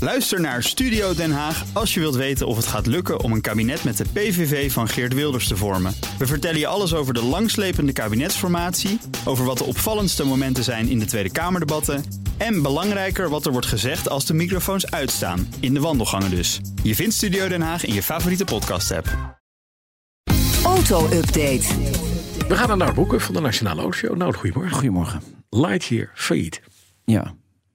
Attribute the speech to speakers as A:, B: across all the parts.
A: Luister naar Studio Den Haag als je wilt weten of het gaat lukken om een kabinet met de PVV van Geert Wilders te vormen. We vertellen je alles over de langslepende kabinetsformatie, over wat de opvallendste momenten zijn in de Tweede Kamerdebatten en belangrijker wat er wordt gezegd als de microfoons uitstaan, in de wandelgangen dus. Je vindt Studio Den Haag in je favoriete podcast-app.
B: Auto-update.
C: We gaan naar Nout Boeken van de Nationale Autoshow. Nout, goedemorgen.
D: Goedemorgen.
C: Lightyear, failliet.
D: Ja,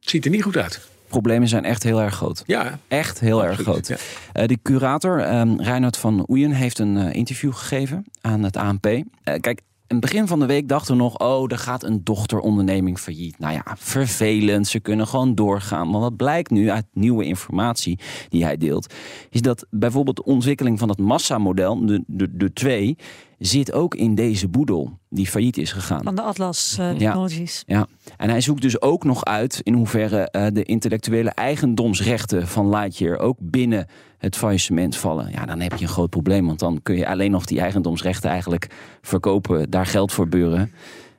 C: Het ziet er niet goed uit.
D: problemen zijn echt heel erg groot.
C: Ja,
D: Echt heel erg
C: Absoluut,
D: groot.
C: ja.
D: Eh, de curator, ehm Reinhard van Oeyen, heeft een eh, interview gegeven aan het ANP. Eh, kijk, in het begin van de week dachten we nog... oh, er gaat een dochteronderneming failliet. Nou ja, vervelend, ze kunnen gewoon doorgaan. Maar wat blijkt nu uit nieuwe informatie die hij deelt... is dat bijvoorbeeld de ontwikkeling van dat massamodel, de, de, de 2... zit ook in deze boedel die failliet is gegaan.
E: Van de Atlas eh, Technologies.
D: Ja, en hij zoekt dus ook nog uit in hoeverre eh, de intellectuele eigendomsrechten van Lightyear ook binnen het faillissement vallen. Ja, dan heb je een groot probleem, want dan kun je alleen nog die eigendomsrechten eigenlijk verkopen, daar geld voor beuren.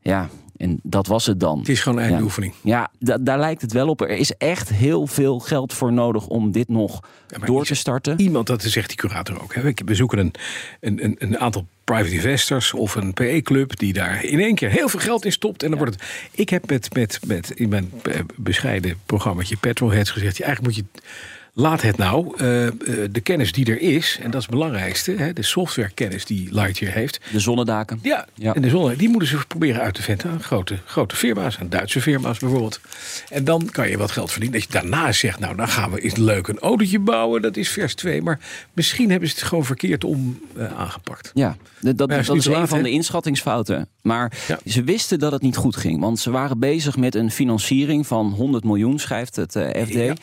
D: Ja, en dat was het dan.
C: het is gewoon een einde
D: Ja.
C: oefening.
D: Ja, da- daar lijkt het wel op. Er is echt heel veel geld voor nodig om dit nog
C: maar
D: door
C: is-
D: te starten.
C: Iemand, dat zegt die curator ook. Hè. We we zoeken een, een, een, een aantal private investors of een PE-club... die daar in één keer heel veel geld in stopt. En dan wordt het... Ik heb met, met, met, in mijn eh, bescheiden programmaatje Petrolheads gezegd... ja, eigenlijk moet je... Laat het nou, eh, eh, de kennis die er is, en dat is het belangrijkste... Hè, de softwarekennis die Lightyear heeft...
D: De zonnedaken.
C: Ja,
D: Ja.
C: en de zonne, die moeten ze proberen uit te venten aan grote, grote firma's, aan Duitse firma's bijvoorbeeld. En dan kan je wat geld verdienen. Dat je daarna zegt, nou dan gaan we eens leuk een autootje bouwen, dat is vers 2. Maar misschien hebben ze het gewoon verkeerd om eh, aangepakt.
D: Ja, d- dat,
C: Maar is
D: dat
C: niet
D: is
C: te
D: een
C: laat,
D: van
C: hè?
D: de inschattingsfouten. Maar
C: Ja.
D: ze wisten dat het niet goed ging. Want ze waren bezig met een financiering van 100 miljoen, schrijft het eh, FD.
C: Ja.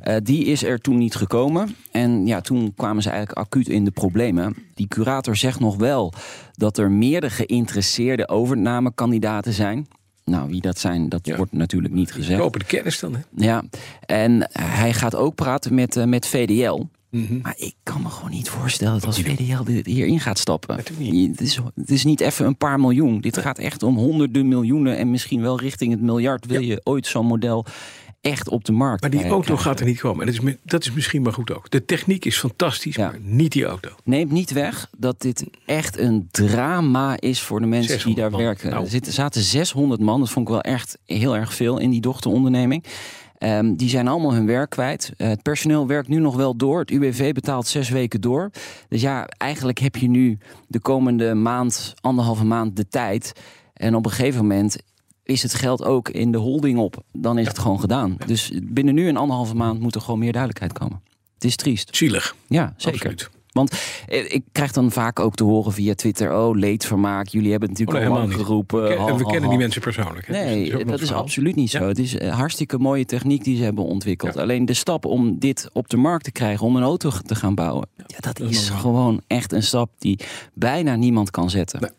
D: Eh, die is er toen niet gekomen. En ja, toen kwamen ze eigenlijk acuut in de problemen. Die curator zegt nog wel dat er meerdere geïnteresseerde overnamekandidaten zijn. Nou, wie dat zijn, dat wordt natuurlijk niet gezegd.
C: Kopen de kennis dan, hè?
D: Ja, en eh, hij gaat ook praten met, eh, met VDL.
C: Mhm.
D: Maar ik kan me gewoon niet voorstellen dat als VDL dit hierin gaat stappen.
C: Natuurlijk
D: je- Het is, het is niet even een paar miljoen. Dit gaat echt om honderden miljoenen en misschien wel richting het miljard. Wil je ooit zo'n model echt op de markt?
C: Maar die
D: eh,
C: auto
D: krijgen?
C: gaat er niet komen. En dat is, mi- dat is misschien maar goed ook. De techniek is fantastisch,
D: Ja.
C: maar niet die auto.
D: Neemt niet weg dat dit echt een drama is voor de mensen die
C: 600
D: daar
C: man.
D: werken.
C: Nou.
D: Er zitten, zaten 600 man, dat vond ik wel echt heel erg veel in die dochteronderneming. Ehm, die zijn allemaal hun werk kwijt. Eh, het personeel werkt nu nog wel door. Het UWV betaalt zes weken door. Dus ja, eigenlijk heb je nu de komende maand, anderhalve maand de tijd. En op een gegeven moment is het geld ook in de holding op. Dan is het gewoon gedaan. Dus binnen nu en anderhalve maand moet er gewoon meer duidelijkheid komen. Het is triest.
C: Zielig.
D: Ja, zeker.
C: Absoluut.
D: Want eh, ik krijg dan vaak ook te horen via Twitter: oh, leedvermaak. Jullie hebben het
C: Oh, nee,
D: natuurlijk al
C: helemaal
D: lang
C: niet.
D: geroepen.
C: Oké,
D: hal,
C: en we
D: hal,
C: kennen
D: hal.
C: die mensen persoonlijk. Hè? Dus
D: Nee,
C: ook nog
D: dat
C: het
D: is
C: verhaal.
D: absoluut niet zo.
C: Ja.
D: Het is een hartstikke mooie techniek die ze hebben ontwikkeld.
C: Ja.
D: Alleen de stap om dit op de markt te krijgen, om een auto te gaan bouwen, ja, dat,
C: dat is
D: is
C: normaal.
D: gewoon echt een stap die bijna niemand kan zetten.
C: Nee.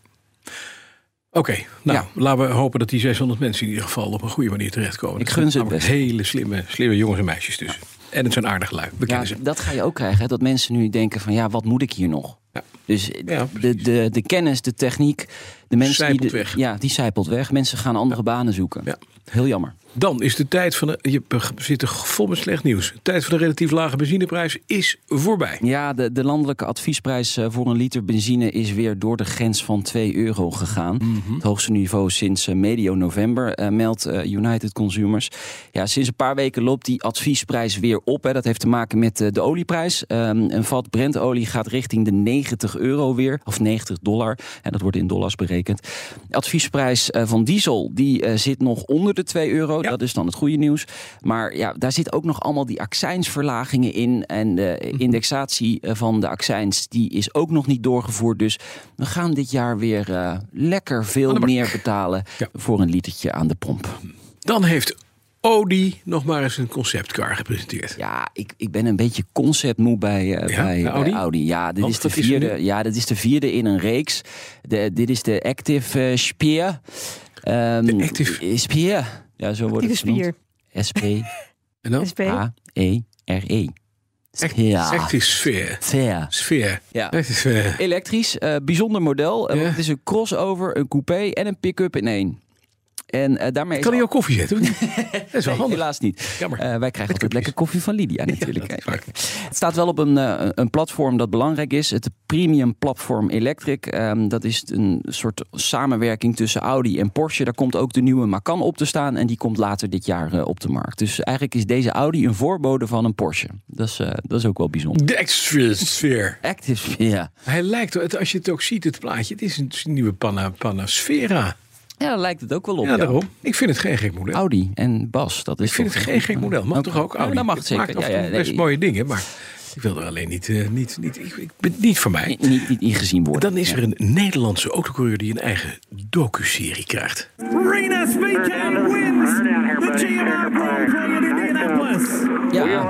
C: Oké, nou,
D: Ja.
C: laten we hopen dat die 600 mensen in ieder geval op een goede manier terechtkomen.
D: Ik gun ze het
C: Namelijk
D: best.
C: Hele slimme, slimme jongens en meisjes tussen. En het zijn aardig lui, we
D: Ja,
C: kennen ze.
D: dat ga je ook krijgen, hè, dat mensen nu denken van ja, wat moet ik hier nog?
C: Ja.
D: Dus de,
C: precies.
D: de, de kennis, de techniek, de mensen die
C: Sijpelt
D: de-
C: weg.
D: Ja, die zijpelt weg. Mensen gaan andere banen zoeken.
C: Ja.
D: Heel jammer.
C: Dan is de tijd van de... Je we zitten vol met slecht nieuws. De tijd van de relatief lage benzineprijs is voorbij.
D: Ja, de, de landelijke adviesprijs eh, voor een liter benzine is weer door de grens van 2 euro gegaan. Het hoogste niveau sinds eh, medio november, eh, meldt eh, United Consumers. Ja, sinds een paar weken loopt die adviesprijs weer op. Hè. Dat heeft te maken met eh, de olieprijs. Ehm, een vat Brentolie gaat richting de 90 euro weer, of 90 dollar. En dat wordt in dollars berekend. De adviesprijs eh, van diesel die, eh, zit nog onder de 2 euro. Dat is dan het goede nieuws. Maar ja, daar zit ook nog allemaal die accijnsverlagingen in. En de
C: Mhm.
D: indexatie eh, van de accijns die is ook nog niet doorgevoerd. Dus we gaan dit jaar weer eh, lekker veel
C: de bak.
D: meer betalen
C: Ja.
D: voor een litertje aan de pomp.
C: Dan heeft Audi nog maar eens een conceptcar gepresenteerd.
D: Ja, ik, ik ben een beetje conceptmoe bij, eh,
C: Ja,
D: bij,
C: bij
D: bij
C: Audi?
D: Audi? Ja, dit
C: Want
D: is, de
C: dat is er
D: vierde, ja, dit is de vierde in een reeks. De, dit is de Active eh, Spear. Ehm,
C: De Active-
D: eh, Spear. Ja, zo wordt
E: Actieve
D: het genoemd. Ah.
E: spier.
C: En dan?
E: SP.
D: S-P-H-E-R-E. E Ja,
C: Echt die sfeer.
D: Fair.
C: Sfeer.
D: Ja.
C: Echt die sfeer.
D: Elektrisch, eh, bijzonder model. Eh,
C: Ja.
D: want het is een crossover, een coupé en een pick-up in één. En eh, daarmee
C: Kan
D: is
C: hij ook koffie zetten? of niet? Dat is wel
D: Nee,
C: handig.
D: helaas niet.
C: Jammer.
D: Eh, wij krijgen altijd lekker koffie van Lydia natuurlijk.
C: dat is waar.
D: het staat wel op een, eh, een platform dat belangrijk is. Het premium platform Electric. Ehm, dat is een soort samenwerking tussen Audi en Porsche. Daar komt ook de nieuwe Macan op te staan. En die komt later dit jaar eh, op de markt. Dus eigenlijk is deze Audi een voorbode van een Porsche. Dat is, eh, dat is ook wel bijzonder.
C: De extra sfeer.
D: Active, ja.
C: Hij lijkt, het- als je het ook ziet, het plaatje, het is een nieuwe Panna, Panasfera.
D: Ja, daar lijkt het ook wel op.
C: Ja, daarom. Ik vind het geen gek model.
D: Audi en Bas, dat is
C: ik vind
D: toch Nou,
C: het geen gek model. Mag toch ook
D: Ja,
C: Audi?
D: dat mag
C: het
D: zeker.
C: Maakt af en
D: Ja, ja,
C: toe
D: nee.
C: best mooie dingen, maar ik wil er alleen niet, eh, niet, niet, ik, ik ben niet voor mij.
D: Niet, niet, niet ingezien worden.
C: Dan is er een Nederlandse autocoureur die een eigen docu-serie krijgt.
B: Rena Speakan wins the GMR Grand Prix in Indianapolis.
D: Ja.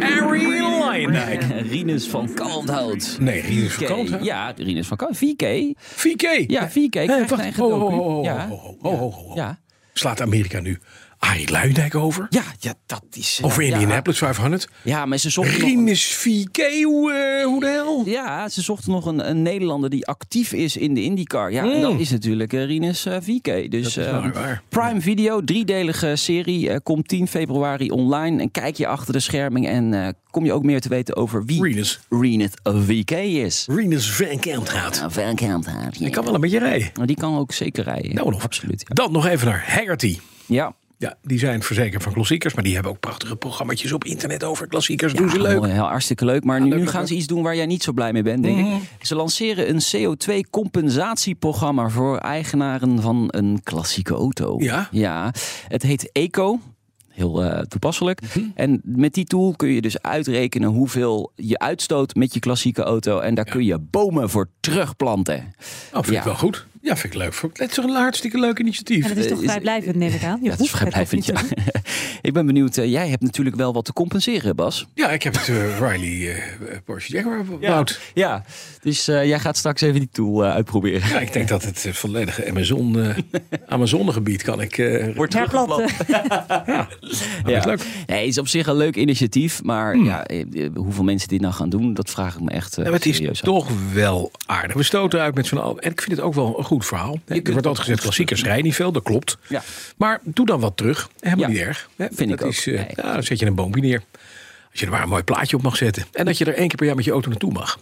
C: Arie Leijndijk.
D: Rinus van Kalmthout.
C: Nee, Rinus van
D: VK.
C: Kalmthout?
D: Ja, Rinus van Kalmthout. VK.
C: VK.
D: Ja, VK. krijgt een
C: wacht.
D: eigen
C: Ho,
D: docu.
C: ho, ho, ho,
D: ja.
C: ho, ho, ho, ho, ho.
D: Ja.
C: Slaat Amerika nu Arie Luijendijk over?
D: Ja, ja, dat is... eh,
C: Over
D: ja.
C: Indianapolis 500?
D: Ja, maar ze zochten nog...
C: Rinus VK, hoe, eh, hoe de hel?
D: Ja, ze zochten nog een, een Nederlander die actief is in de IndyCar. Ja, en dat is natuurlijk eh, Rinus eh, VK. Dus
C: Mm. Dat is
D: eh,
C: waar, waar.
D: Prime Video, driedelige serie, eh, komt 10 februari online. En kijk je achter de scherming en eh, kom je ook meer te weten over wie
C: Rinus.
D: Rinus VK is.
C: Rinus Van Kent gaat.
D: Nou, Van Kalmthout, ja.
C: Ik kan wel een beetje rijden.
D: Maar Die kan ook zeker rijden.
C: Nou, nog.
D: Absoluut. ja.
C: Dan nog even naar Haggerty.
D: Ja.
C: Ja, die zijn verzekerd van klassiekers, maar die hebben ook prachtige programma's op internet over klassiekers. Doen ze
D: Ja,
C: leuk.
D: mooi, Heel hartstikke leuk. Maar nu,
C: leuk,
D: nu
C: leuk,
D: gaan
C: leuk.
D: ze iets doen waar jij niet zo blij mee bent, denk ik. Ze lanceren een CO2-compensatieprogramma voor eigenaren van een klassieke auto.
C: Ja?
D: ja. Het heet Eco. Heel eh, toepasselijk. En met die tool kun je dus uitrekenen hoeveel je uitstoot met je klassieke auto. En daar kun je bomen voor terugplanten.
C: Nou, vind
D: Ja.
C: ik wel goed. Ja, vind ik leuk. Het is toch een hartstikke leuk initiatief.
E: En dat is toch
D: is-
E: vrijblijvend, neem ik aan. Je
D: Ja, dat is
E: hoeft het
D: vrijblijvend.
E: niet
D: Ja.
E: te doen.
D: ik ben benieuwd. eh, jij hebt natuurlijk wel wat te compenseren, Bas.
C: Ja, ik heb het eh, Riley eh, eh, Porsche Jaguar gebouwd.
D: Ja, dus eh, jij gaat straks even die tool eh, uitproberen.
C: Ja. ik denk dat het eh, volledige Amazon, eh, Amazonegebied kan ik... eh,
D: Wordt
E: Herplanten.
C: Ja.
D: Ja.
C: Leuk. Hmm.
D: Nee, is op zich een leuk initiatief, maar ja, eh, eh, hoeveel mensen dit nou gaan doen, dat vraag ik me echt eh,
C: Ja, maar het is
D: serieus af.
C: toch wel aardig. We stoten uit met zo'n al. En ik vind het ook wel een goed verhaal. Er wordt altijd gezegd, klassiekers rijden niet veel. Dat klopt.
D: Ja.
C: Maar doe dan wat terug. Helemaal
D: Ja.
C: niet erg. Hè,
D: Vind
C: dat
D: ik ook.
C: Is, eh,
D: Nee.
C: nou, dan zet je een boompje neer. Als je er maar een mooi plaatje op mag zetten. En dat je er één keer per jaar met je auto naartoe mag.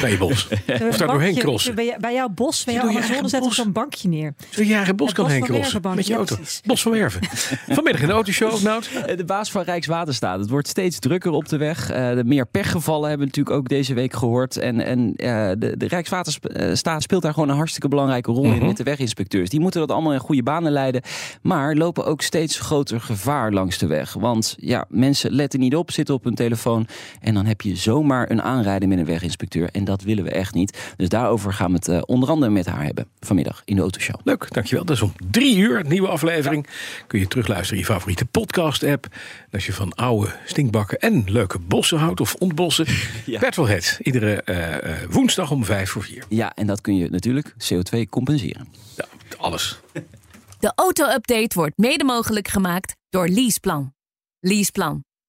C: Bij je bos. Of daar doorheen
E: Bankje-
C: crossen.
E: Bij, jou- bij jouw bos, bij
C: Je
E: jouw
C: doet je
E: Amazone
C: eigen
E: zet op
C: bos.
E: zo'n bankje neer.
C: Zodat je eigen bos
E: Het
C: kan
E: Bos
C: heen
E: van
C: crossen.
E: Wervenbank,
C: Met je
E: ja,
C: auto.
E: precies.
C: Bos van Werven. Vanmiddag in de autoshow. Nou,
D: Eh, De baas van Rijkswaterstaat. Het wordt steeds drukker op de weg. Eh, de meer pechgevallen hebben we natuurlijk ook deze week gehoord. En, en eh, de, de Rijkswaterstaat speelt daar gewoon een hartstikke belangrijke rol in met de weginspecteurs. Die moeten dat allemaal in goede banen leiden. Maar lopen ook steeds groter gevaar langs de weg. Want ja, mensen letten niet op, zitten op hun telefoon. En dan heb je zomaar een aanrijding met een weginspecteur. En dat willen we echt niet. Dus daarover gaan we het eh, onder andere met haar hebben vanmiddag in de autoshow.
C: Leuk, dankjewel. Dat is om drie uur, een nieuwe aflevering. Kun je terugluisteren in je favoriete podcast-app. En als je van oude stinkbakken en leuke bossen houdt of ontbossen... ja. Petrolhead, iedere eh, eh, woensdag om vijf voor vier.
D: Ja, en dat kun je natuurlijk CO2 compenseren.
C: Ja, alles.
F: De auto-update wordt mede mogelijk gemaakt door Leaseplan. Leaseplan.